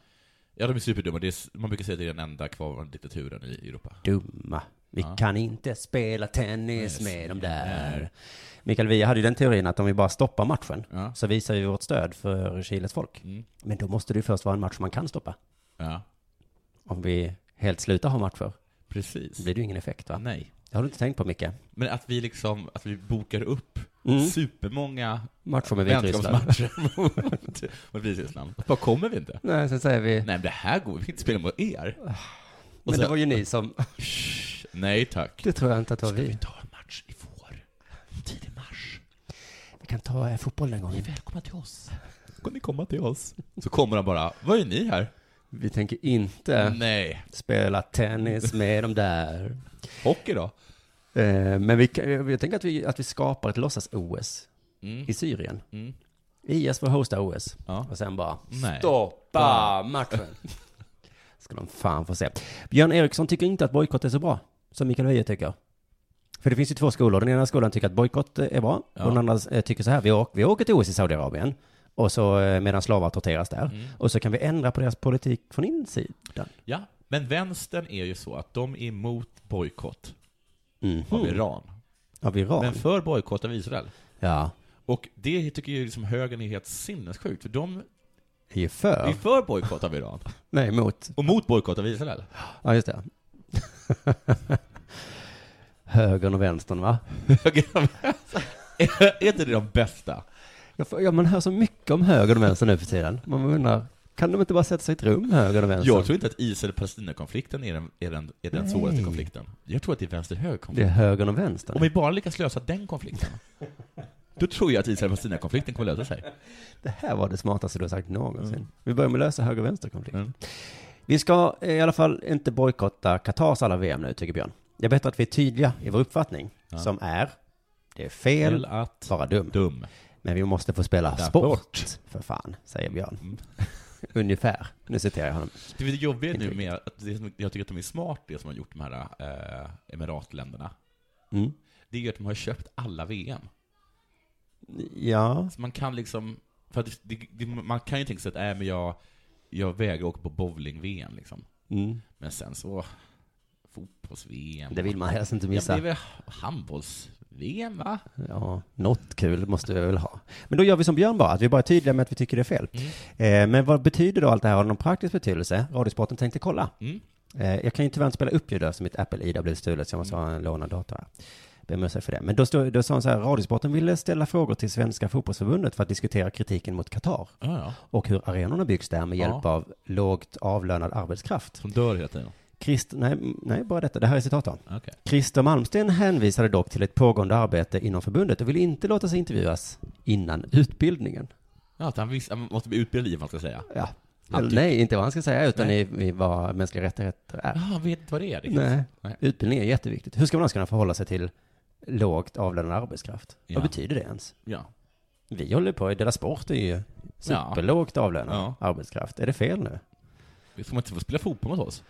Speaker 11: Ja, de är superdumma. Det är, man brukar säga att det är den enda kvarvarande diktaturen i Europa.
Speaker 10: Dumma. Vi
Speaker 11: Ja.
Speaker 10: kan inte spela tennis med dem
Speaker 11: Nej.
Speaker 10: där. Mikael Wiehe hade ju den teorin att om vi bara stoppar matchen så visar vi vårt stöd för Chiles folk.
Speaker 11: Mm.
Speaker 10: Men då måste det ju först vara en match man kan stoppa.
Speaker 11: Ja.
Speaker 10: Om vi helt slutar ha matcher.
Speaker 11: Precis.
Speaker 10: Blir det ju ingen effekt va?
Speaker 11: Nej.
Speaker 10: Det har du inte tänkt på Micke?
Speaker 11: Men att vi liksom, att vi bokar upp
Speaker 10: Mm.
Speaker 11: supermånga
Speaker 10: Matcher med Vitryssland.
Speaker 11: vänskapsmatcher mot, mot Vitryssland. Bara kommer vi inte?
Speaker 10: Nej, sen säger vi...
Speaker 11: Nej, men det här går vi kan inte spela mot er. Och
Speaker 10: Men
Speaker 11: sen-
Speaker 10: det var ju ni som...
Speaker 11: Nej tack.
Speaker 10: Det tror jag inte att det var vi.
Speaker 11: ta en match i vår? Tidig mars?
Speaker 10: Vi kan ta eh, fotboll den gången.
Speaker 11: Välkomna till oss. Ska ni komma till oss?
Speaker 10: Mm.
Speaker 11: Så kommer han bara, vad är ni här?
Speaker 10: Vi tänker inte
Speaker 11: Nej.
Speaker 10: spela tennis med de där.
Speaker 11: Hockey då?
Speaker 10: Eh, Men vi, kan- jag tänker att vi, att vi skapar ett låtsas-OS i Syrien.
Speaker 11: Mm.
Speaker 10: IS får hosta OS. Och sen bara
Speaker 11: Nej.
Speaker 10: stoppa matchen. Ska de fan få se. Björn Eriksson tycker inte att bojkott är så bra, som Mikael Wiehe tycker. För det finns ju två skolor. Den ena skolan tycker att bojkott eh, är bra. Och den andra eh, tycker så här, vi åker, vi åker till OS i Saudiarabien. Och så eh, medan slavar torteras där.
Speaker 11: Mm.
Speaker 10: Och så kan vi ändra på deras politik från insidan.
Speaker 11: Ja, men vänstern är ju så att de är emot bojkott
Speaker 10: Mhm.
Speaker 11: av Iran.
Speaker 10: Av Iran.
Speaker 11: Mm. Men för bojkott av Israel.
Speaker 10: Ja.
Speaker 11: Och det tycker ju liksom högern är helt sinnessjukt, för de
Speaker 10: är ju för.
Speaker 11: är för bojkott av Iran.
Speaker 10: Nej, mot.
Speaker 11: Och mot bojkott av Israel.
Speaker 10: Ja, just det. Högern och vänstern, va?
Speaker 11: är inte det de bästa?
Speaker 10: Jag får, ja, man hör så mycket om höger och vänster nu för tiden. Man undrar, kan de inte bara sätta sig i ett rum, höger och vänster?
Speaker 11: Jag tror inte att Israel-Palestina-konflikten är den, är den, är den
Speaker 10: Nej.
Speaker 11: svåraste konflikten. Jag tror att det är
Speaker 10: Det är
Speaker 11: vänster-höger-konflikten.
Speaker 10: högern och vänstern.
Speaker 11: Om vi bara lyckas lösa den konflikten, då tror jag att Israel-Palestina-konflikten kommer lösa sig.
Speaker 10: Det här var det smartaste du har sagt någonsin.
Speaker 11: Mm.
Speaker 10: Vi börjar med att lösa höger och vänsterkonflikt. Vi ska eh, i alla fall inte bojkotta Qatars alla VM nu, tycker Björn. Det är bättre att vi är tydliga i vår uppfattning,
Speaker 11: Ja.
Speaker 10: som är, det är fel,
Speaker 11: Fel att
Speaker 10: vara dum.
Speaker 11: dum.
Speaker 10: Men vi måste få spela
Speaker 11: Där
Speaker 10: sport, för fan, säger Björn.
Speaker 11: Mm.
Speaker 10: Ungefär. Nu citerar jag honom.
Speaker 11: Det är det jobbiga
Speaker 10: Inte
Speaker 11: nu med att det som jag tycker att de är smart, det som har gjort de här eh, emiratländerna,
Speaker 10: Mm.
Speaker 11: det är ju att de har köpt alla VM.
Speaker 10: Ja.
Speaker 11: Så man kan liksom, för att det, det, man kan ju tänka sig att äh, men jag, jag vägrar åka på bowling-VM liksom.
Speaker 10: Mm.
Speaker 11: Men sen så, fotbolls-VM.
Speaker 10: Det vill man helst inte missa.
Speaker 11: Ja, men det är väl handbolls-VM va?
Speaker 10: Ja, något kul måste vi väl ha. Men då gör vi som Björn bara, att vi bara är tydliga med att vi tycker det är fel.
Speaker 11: Mm.
Speaker 10: Eh, men vad betyder då allt det här? Har det någon praktisk betydelse? Radiosporten tänkte kolla.
Speaker 11: Mm.
Speaker 10: Eh, jag kan ju tyvärr inte spela upp ljud eftersom mitt Apple ID har blivit stulet, så jag
Speaker 11: Mm.
Speaker 10: måste ha en lånad dator här. Ber om ursäkt för det. Men då, stod, då sa han så här, Radiosporten ville ställa frågor till Svenska Fotbollsförbundet för att diskutera kritiken mot Qatar.
Speaker 11: Ja, ja.
Speaker 10: Och hur arenorna byggs där med
Speaker 11: Ja.
Speaker 10: hjälp av lågt avlönad arbetskraft.
Speaker 11: Som dör hela tiden.
Speaker 10: Christ, nej, m- nej, bara detta. Det här är citat då.
Speaker 11: Okej.
Speaker 10: Christer Malmsten hänvisade dock till ett pågående arbete inom förbundet och ville inte låta sig intervjuas innan utbildningen.
Speaker 11: Ja, att han, visst, han måste bli utbildad i vad man ska säga.
Speaker 10: Ja.
Speaker 11: Han
Speaker 10: Eller,
Speaker 11: tyck-
Speaker 10: nej, inte vad han ska säga, utan
Speaker 11: Nej.
Speaker 10: i, i vad mänskliga rättigheter är.
Speaker 11: Ja, han vet inte vad det är riktigt.
Speaker 10: nej.
Speaker 11: Nej.
Speaker 10: utbildning är jätteviktigt. Hur ska man annars kunna förhålla sig till lågt avlönad arbetskraft?
Speaker 11: Ja.
Speaker 10: Vad betyder det ens?
Speaker 11: Ja.
Speaker 10: Vi håller på, Dela Sport är ju superlågt avlönad arbetskraft. Är det fel nu?
Speaker 11: Vi får inte få spela fotboll mot oss.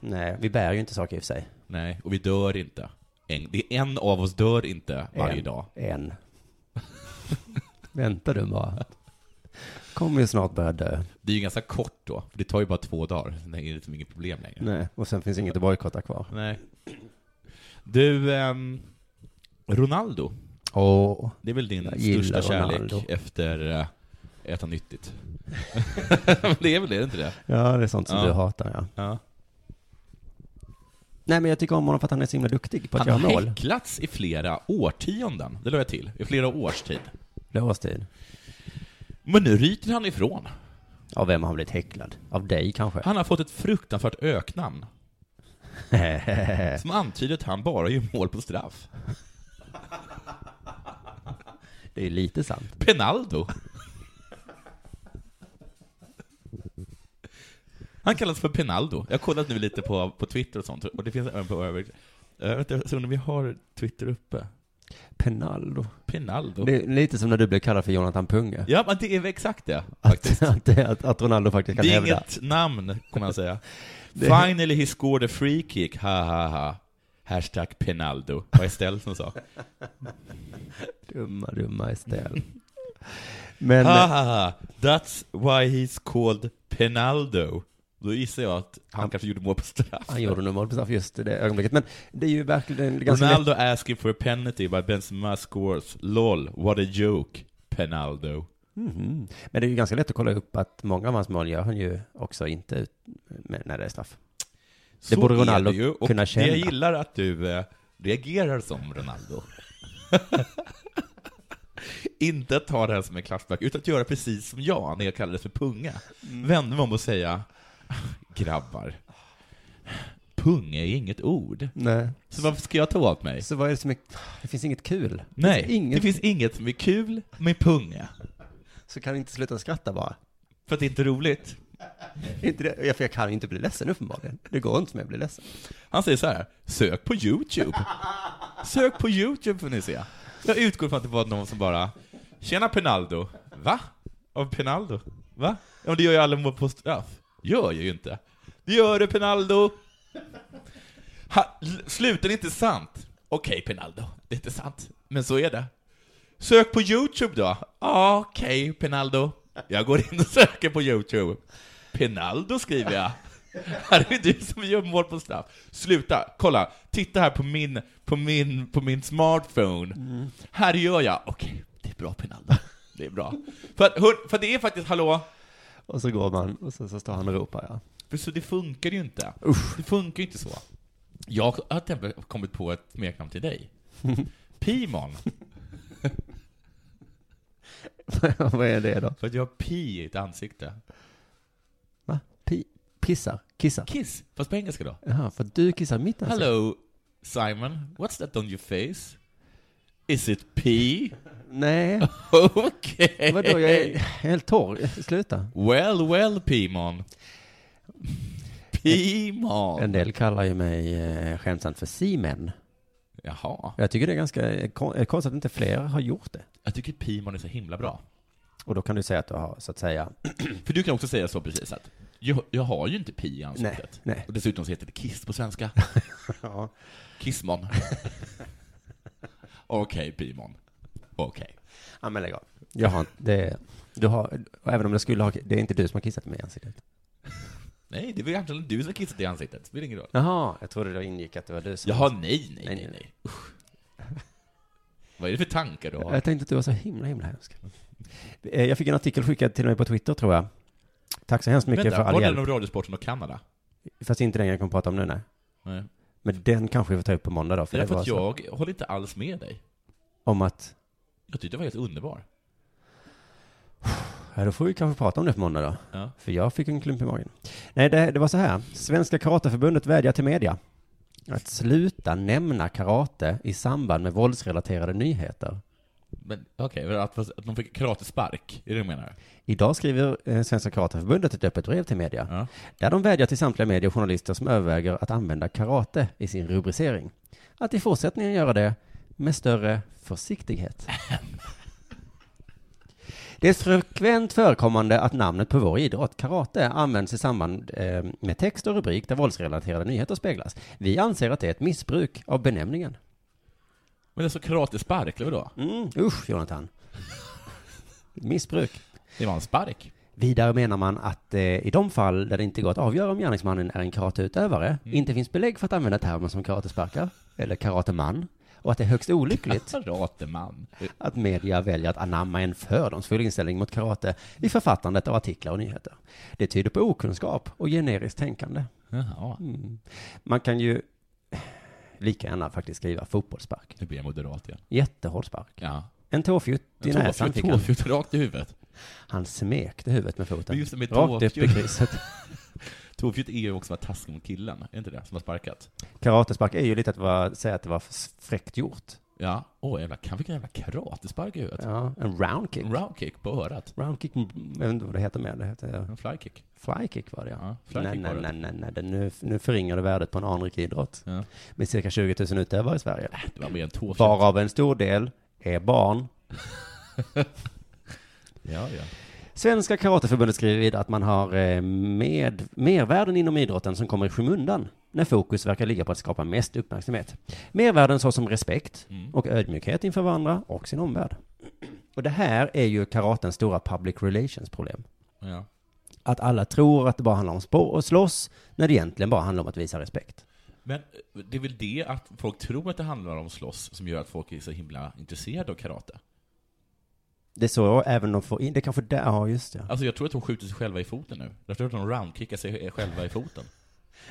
Speaker 10: Nej, vi bär ju inte saker i och för sig.
Speaker 11: Nej, och vi dör inte. En, det är en av oss dör inte varje
Speaker 10: en,
Speaker 11: dag.
Speaker 10: En. Vänta du bara. Kommer ju snart börja dö.
Speaker 11: Det är ju ganska kort då, för det tar ju bara två dagar. Sen är det liksom inget problem längre.
Speaker 10: Nej, och sen finns inget att bojkotta kvar.
Speaker 11: Nej. Du, ehm, Ronaldo.
Speaker 10: Åh.
Speaker 11: Det är väl din
Speaker 10: Jag gillar
Speaker 11: största kärlek
Speaker 10: Ronaldo.
Speaker 11: efter eh, äta nyttigt? det är väl det, är det inte det?
Speaker 10: Ja, det är sånt som du hatar, ja. Nej, men jag tycker om honom för att han är så himla duktig på att
Speaker 11: Han
Speaker 10: göra
Speaker 11: har
Speaker 10: mål.
Speaker 11: häcklats i flera årtionden, det la jag till. I flera års tid.
Speaker 10: Blåstid.
Speaker 11: Men nu ryter han ifrån.
Speaker 10: Av vem har han blivit häcklad? Av dig kanske?
Speaker 11: Han har fått ett fruktansvärt öknamn. Som antyder att han bara gör mål på straff.
Speaker 10: Det är ju lite sant.
Speaker 11: Penaldo. Han kallas för Penaldo. Jag har kollat nu lite på, på Twitter och sånt, och det finns även på övrigt. Jag vet inte, så undrar om vi har Twitter uppe?
Speaker 10: Penaldo.
Speaker 11: Penaldo.
Speaker 10: Det är lite som när du blev kallad för Jonathan Punge.
Speaker 11: Ja, men det är väl exakt det.
Speaker 10: Att, att, det- att, att Ronaldo faktiskt kan
Speaker 11: Det är
Speaker 10: hävda.
Speaker 11: inget namn, kommer han säga.
Speaker 10: Det-
Speaker 11: Finally he scored a free kick, ha ha ha. Hashtag Penaldo, var Estelle som sa.
Speaker 10: Dumma, dumma Estelle. Men, eh,
Speaker 11: ha ha ha, that's why he's called Penaldo. Då gissar jag att han, kanske gjorde mål på straff.
Speaker 10: Han gjorde nog mål på straff just i det ögonblicket. Men det är ju verkligen ganska lätt.
Speaker 11: Ronaldo asking for a penalty but Benzema scores. LOL, what a joke, Penaldo.
Speaker 10: Mhm. Men det är ju ganska lätt att kolla upp att många av hans mål gör han ju också inte ut med, när det är straff. Det
Speaker 11: Så
Speaker 10: borde
Speaker 11: är
Speaker 10: Ronaldo
Speaker 11: det ju, och
Speaker 10: kunna
Speaker 11: Det
Speaker 10: känna.
Speaker 11: jag gillar att du eh, reagerar som Ronaldo. Inte att ta det här som en klassback, utan att göra precis som jag när jag kallades för punga.
Speaker 10: Mm.
Speaker 11: Vände mig om och säga, grabbar, punga är inget ord.
Speaker 10: Nej.
Speaker 11: Så varför ska jag ta åt mig?
Speaker 10: Så vad är det som är... Det finns inget kul.
Speaker 11: Nej,
Speaker 10: det finns inget,
Speaker 11: det finns inget som är kul med punga.
Speaker 10: Så kan vi inte sluta skratta bara.
Speaker 11: För att det inte är roligt.
Speaker 10: inte det, jag, för jag kan ju inte bli ledsen uppenbarligen. Det går inte som jag blir ledsen.
Speaker 11: Han säger så här, sök på YouTube. Sök på YouTube får ni se. Jag utgår från att det var någon som bara, tjena Penaldo. Va? Av Penaldo? Va? Ja men det gör ju alla mål på straff. Gör jag ju inte. Det gör du Penaldo! Ha, l- sluten är inte sant. Okej Penaldo, det är inte sant. Men så är det. Sök på YouTube då. Ja, Okej Penaldo. Jag går in och söker på YouTube. Penaldo skriver jag. Här är du som gör mål på straff. Sluta, kolla, titta här på min, på min, på min smartphone. Här gör jag, okej, det är bra Penaldo. Det är bra. För, att, hör- för det är faktiskt, hallå,
Speaker 10: Och så går man och så, så står han och ropar ja.
Speaker 11: för så det funkar ju inte. Det funkar ju inte så. Jag har till exempel kommit på ett smeknamn till dig. Pimon.
Speaker 10: vad är det då?
Speaker 11: För att jag har pi i ett ansikte.
Speaker 10: Va? Pi, pissar? Kissar?
Speaker 11: Kiss, fast på engelska då.
Speaker 10: Jaha, för du kissar mitt ansikte?
Speaker 11: Hello Simon, what's that on your face? Is it pee?
Speaker 10: Nej.
Speaker 11: Okej.
Speaker 10: Vadå, jag är, jag är helt torr. Sluta.
Speaker 11: Well, well Pimon. Pimon.
Speaker 10: En del kallar ju mig eh, skämtsamt för Simen.
Speaker 11: Jaha.
Speaker 10: Jag tycker det är ganska kon- eh, konstigt att inte fler har gjort det.
Speaker 11: Jag tycker Pimon är så himla bra.
Speaker 10: Och då kan du säga att du har, så att säga,
Speaker 11: För du kan också säga så precis att jag, jag har ju inte pi i ansiktet.
Speaker 10: Nej, nej.
Speaker 11: Och dessutom så heter det Kiss på svenska.
Speaker 10: ja.
Speaker 11: Kissmon. Okej, Pimon. Okej.
Speaker 10: ja men lägg av. Jag har, det, du har, och även om jag skulle ha, det är inte du som har kissat mig i ansiktet.
Speaker 11: Nej, det var ju egentligen du som kissade i ansiktet. Det spelar ingen roll.
Speaker 10: Jaha, jag trodde det ingick att det var du som...
Speaker 11: Jaha, nej, nej, nej, nej. Usch. Vad är det för tankar du har?
Speaker 10: Jag tänkte att du var så himla, himla hemsk. Eh, Jag fick en artikel skickad till mig på Twitter tror jag. Tack så hemskt mycket
Speaker 11: Vänta,
Speaker 10: för
Speaker 11: var
Speaker 10: all
Speaker 11: det
Speaker 10: hjälp.
Speaker 11: den om Radiosporten och Kanada?
Speaker 10: Fast inte den jag kommer prata om nu, nej.
Speaker 11: Nej.
Speaker 10: Men den kanske vi får ta upp på måndag då.
Speaker 11: Det
Speaker 10: För
Speaker 11: är
Speaker 10: det
Speaker 11: därför
Speaker 10: var
Speaker 11: att
Speaker 10: så,
Speaker 11: jag håller inte alls med dig.
Speaker 10: Om att,
Speaker 11: Jag tyckte det var helt underbar.
Speaker 10: ja, då får vi kanske prata om det på måndag då.
Speaker 11: Ja.
Speaker 10: För jag fick en klump i magen. Nej, det, det var så här. Svenska Karateförbundet vädjar till media att sluta nämna karate i samband med våldsrelaterade nyheter.
Speaker 11: Men okej, men att, att de fick karatespark, är det du menar?
Speaker 10: Idag skriver eh, Svenska Karateförbundet ett öppet brev till media. Där de vädjar till samtliga medier och journalister som överväger att använda karate i sin rubricering. Att i fortsättningen göra det med större försiktighet. Det är frekvent förekommande att namnet på vår idrott, karate, används i samband eh, med text och rubrik där våldsrelaterade nyheter speglas. Vi anser att det är ett missbruk av benämningen.
Speaker 11: Men alltså karatespark, eller vadå?
Speaker 10: Mm, usch, Jonathan. Missbruk.
Speaker 11: Det var en spark.
Speaker 10: Vidare menar man att eh, i de fall där det inte går att avgöra om gärningsmannen är en karateutövare,
Speaker 11: Mm.
Speaker 10: inte finns belägg för att använda termer som karatesparkar eller karateman, och att det är högst olyckligt
Speaker 11: Karateman.
Speaker 10: att media väljer att anamma en fördomsfull inställning mot karate i författandet av artiklar och nyheter. Det tyder på okunskap och generiskt tänkande.
Speaker 11: Jaha.
Speaker 10: Mm. Man kan ju lika gärna faktiskt skriva fotbollsspark.
Speaker 11: Nu blir jag moderat igen.
Speaker 10: Jättehård spark.
Speaker 11: Ja.
Speaker 10: En tåfjutt i
Speaker 11: En tåfjutt,
Speaker 10: näsan fick han.
Speaker 11: tåfjutt rakt i huvudet.
Speaker 10: Han smekte huvudet med foten.
Speaker 11: Men just det med
Speaker 10: Rakt upp i
Speaker 11: tåfjutt.
Speaker 10: kriset.
Speaker 11: Tåfjutt är ju också att vara taskig mot killen, är inte det? Som har sparkat.
Speaker 10: Karatespark är ju lite att vara, säga att det var fräckt gjort.
Speaker 11: Ja. Åh, jävla, kan vilken jävla karatespark i huvudet.
Speaker 10: Ja, en round kick.
Speaker 11: Round kick på örat.
Speaker 10: Round kick, jag vet inte vad det heter mer. Det heter...
Speaker 11: En fly kick.
Speaker 10: Fly kick var det ja.
Speaker 11: fly
Speaker 10: nej,
Speaker 11: kick
Speaker 10: nej,
Speaker 11: var det.
Speaker 10: nej, nej, nej, det- nu, nu förringar du värdet på en anrik idrott. Med cirka 20 000 utövare i Sverige.
Speaker 11: Det var mer än två.
Speaker 10: Varav en stor del är barn.
Speaker 11: Ja, ja.
Speaker 10: Svenska Karateförbundet skriver vidare att man har eh, med, mervärden inom idrotten som kommer i skymundan när fokus verkar ligga på att skapa mest uppmärksamhet. Mervärden såsom respekt och ödmjukhet inför varandra och sin omvärld. Och det här är ju karatens stora public relations problem.
Speaker 11: Ja.
Speaker 10: Att alla tror att det bara handlar om spår och slåss när det egentligen bara handlar om att visa respekt.
Speaker 11: Men eh, det är väl det att folk tror att det handlar om slåss som gör att folk är så himla intresserade av karate.
Speaker 10: Det är så även de får in, det är kanske där, ja just det.
Speaker 11: Alltså jag tror att de skjuter sig själva i foten nu. Jag tror att de roundkickar sig själva i foten.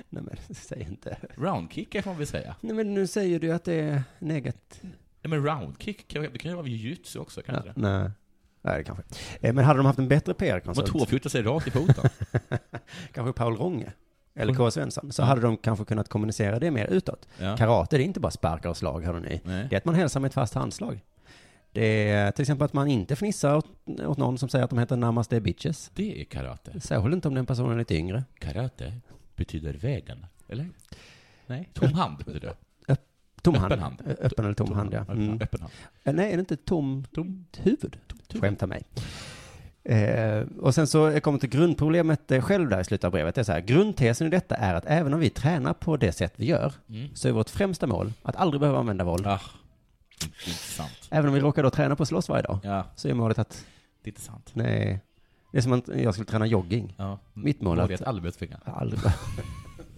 Speaker 10: Nej men säg inte.
Speaker 11: Roundkickar får man väl säga.
Speaker 10: Nej men nu säger du att det är negativt.
Speaker 11: Nej men roundkick, kan- det kan ju vara jujutsu också kanske.
Speaker 10: Ja, nej. Nej, det kanske. Eh, Men hade de haft en bättre
Speaker 11: Man
Speaker 10: PR-konsult?
Speaker 11: tåfjutar sig rakt i foten.
Speaker 10: kanske Paul Ronge eller K. Svensson. Så hade de kanske kunnat kommunicera det mer utåt.
Speaker 11: Ja.
Speaker 10: Karate, det är inte bara sparkar och slag, hörde ni.
Speaker 11: Nej.
Speaker 10: Det är att man hälsar med ett fast handslag. Det är till exempel att man inte fnissar åt, åt någon som säger att de heter Namaste Bitches.
Speaker 11: Det är karate.
Speaker 10: Särskilt inte om den personen är lite yngre.
Speaker 11: Karate betyder vägen, eller? Nej. Tom hand betyder det.
Speaker 10: Tom
Speaker 11: Öppen
Speaker 10: hand.
Speaker 11: hand.
Speaker 10: Ö- Öppen eller tom, hand, ja. Mm.
Speaker 11: Öppen hand.
Speaker 10: Eh, Nej, är det inte tom, huvud?
Speaker 11: Typ.
Speaker 10: Skämta mig. Eh, och sen så kommer till grundproblemet eh, själv där i slutet av brevet. Det är så här, grundtesen i detta är att även om vi tränar på det sätt vi gör,
Speaker 11: Mm.
Speaker 10: så är vårt främsta mål att aldrig behöva använda våld.
Speaker 11: Ah, Intressant.
Speaker 10: Även om vi råkar då träna på att slåss varje dag,
Speaker 11: Ja.
Speaker 10: så är målet att...
Speaker 11: Det är inte sant.
Speaker 10: Nej. Det är som att jag skulle träna jogging.
Speaker 11: Ja.
Speaker 10: Mitt mål
Speaker 11: Målet
Speaker 10: är
Speaker 11: är att aldrig behöva tvinga.
Speaker 10: Aldrig behöva-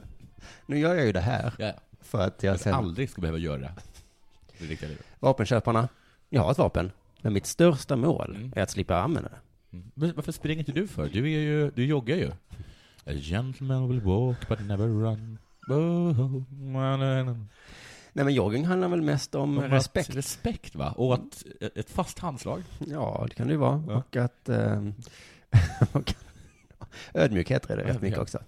Speaker 10: nu gör jag ju det här.
Speaker 11: Ja.
Speaker 10: För att jag
Speaker 11: Att
Speaker 10: sen...
Speaker 11: aldrig ska behöva göra det. i Det riktiga livet.
Speaker 10: Vapenköparna, jag har ett vapen. Men mitt största mål
Speaker 11: Mm.
Speaker 10: är att slippa använda det.
Speaker 11: Men varför springer inte du för? Du, är ju, du joggar ju. A gentleman will walk but never run.
Speaker 10: Nej men jogging handlar väl mest om,
Speaker 11: att-
Speaker 10: respekt.
Speaker 11: Respekt va? Och att, eh, ett fast handslag.
Speaker 10: Ja, det kan det ju vara. Och att... ehm, och- ödmjukhet är det rätt mycket
Speaker 11: Ödmjukhet.
Speaker 10: också.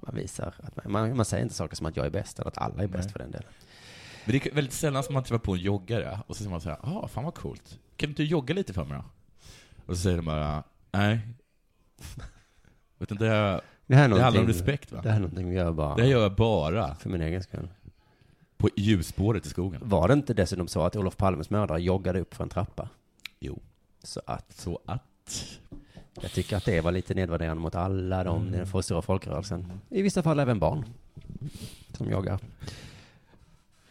Speaker 10: Man visar att man, man, man säger inte saker som att jag är bäst eller att alla är bäst
Speaker 11: Nej.
Speaker 10: för den delen.
Speaker 11: Men det är väldigt sällan som man träffar på en joggare och så säger man så här, ah, fan vad coolt. Kan inte du jogga lite för mig då? Och så säger de bara, nej. Utan det,
Speaker 10: Det här är
Speaker 11: handlar om
Speaker 10: någonting-
Speaker 11: respekt va?
Speaker 10: det här är någonting vi gör bara-
Speaker 11: Det här gör jag bara.
Speaker 10: För min egen skull.
Speaker 11: På ljusspåret i skogen.
Speaker 10: Var det inte dessutom så att Olof Palmes mördare joggade upp för en trappa?
Speaker 11: Jo.
Speaker 10: Så att...
Speaker 11: Så att...
Speaker 10: Jag tycker att det var lite nedvärderande mot alla de i den
Speaker 11: Mm.
Speaker 10: stora folkrörelsen. I vissa fall även barn. Som joggar.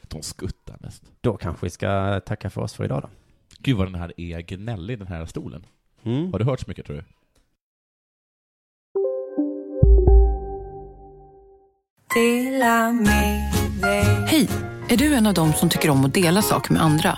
Speaker 11: De skuttar mest.
Speaker 10: Då kanske vi ska tacka för oss för idag då.
Speaker 11: Gud vad den här är gnällig, den här stolen.
Speaker 10: Mm.
Speaker 11: Har du hört så mycket tror du?
Speaker 17: Hej! Är du en av dem som tycker om att dela saker med andra?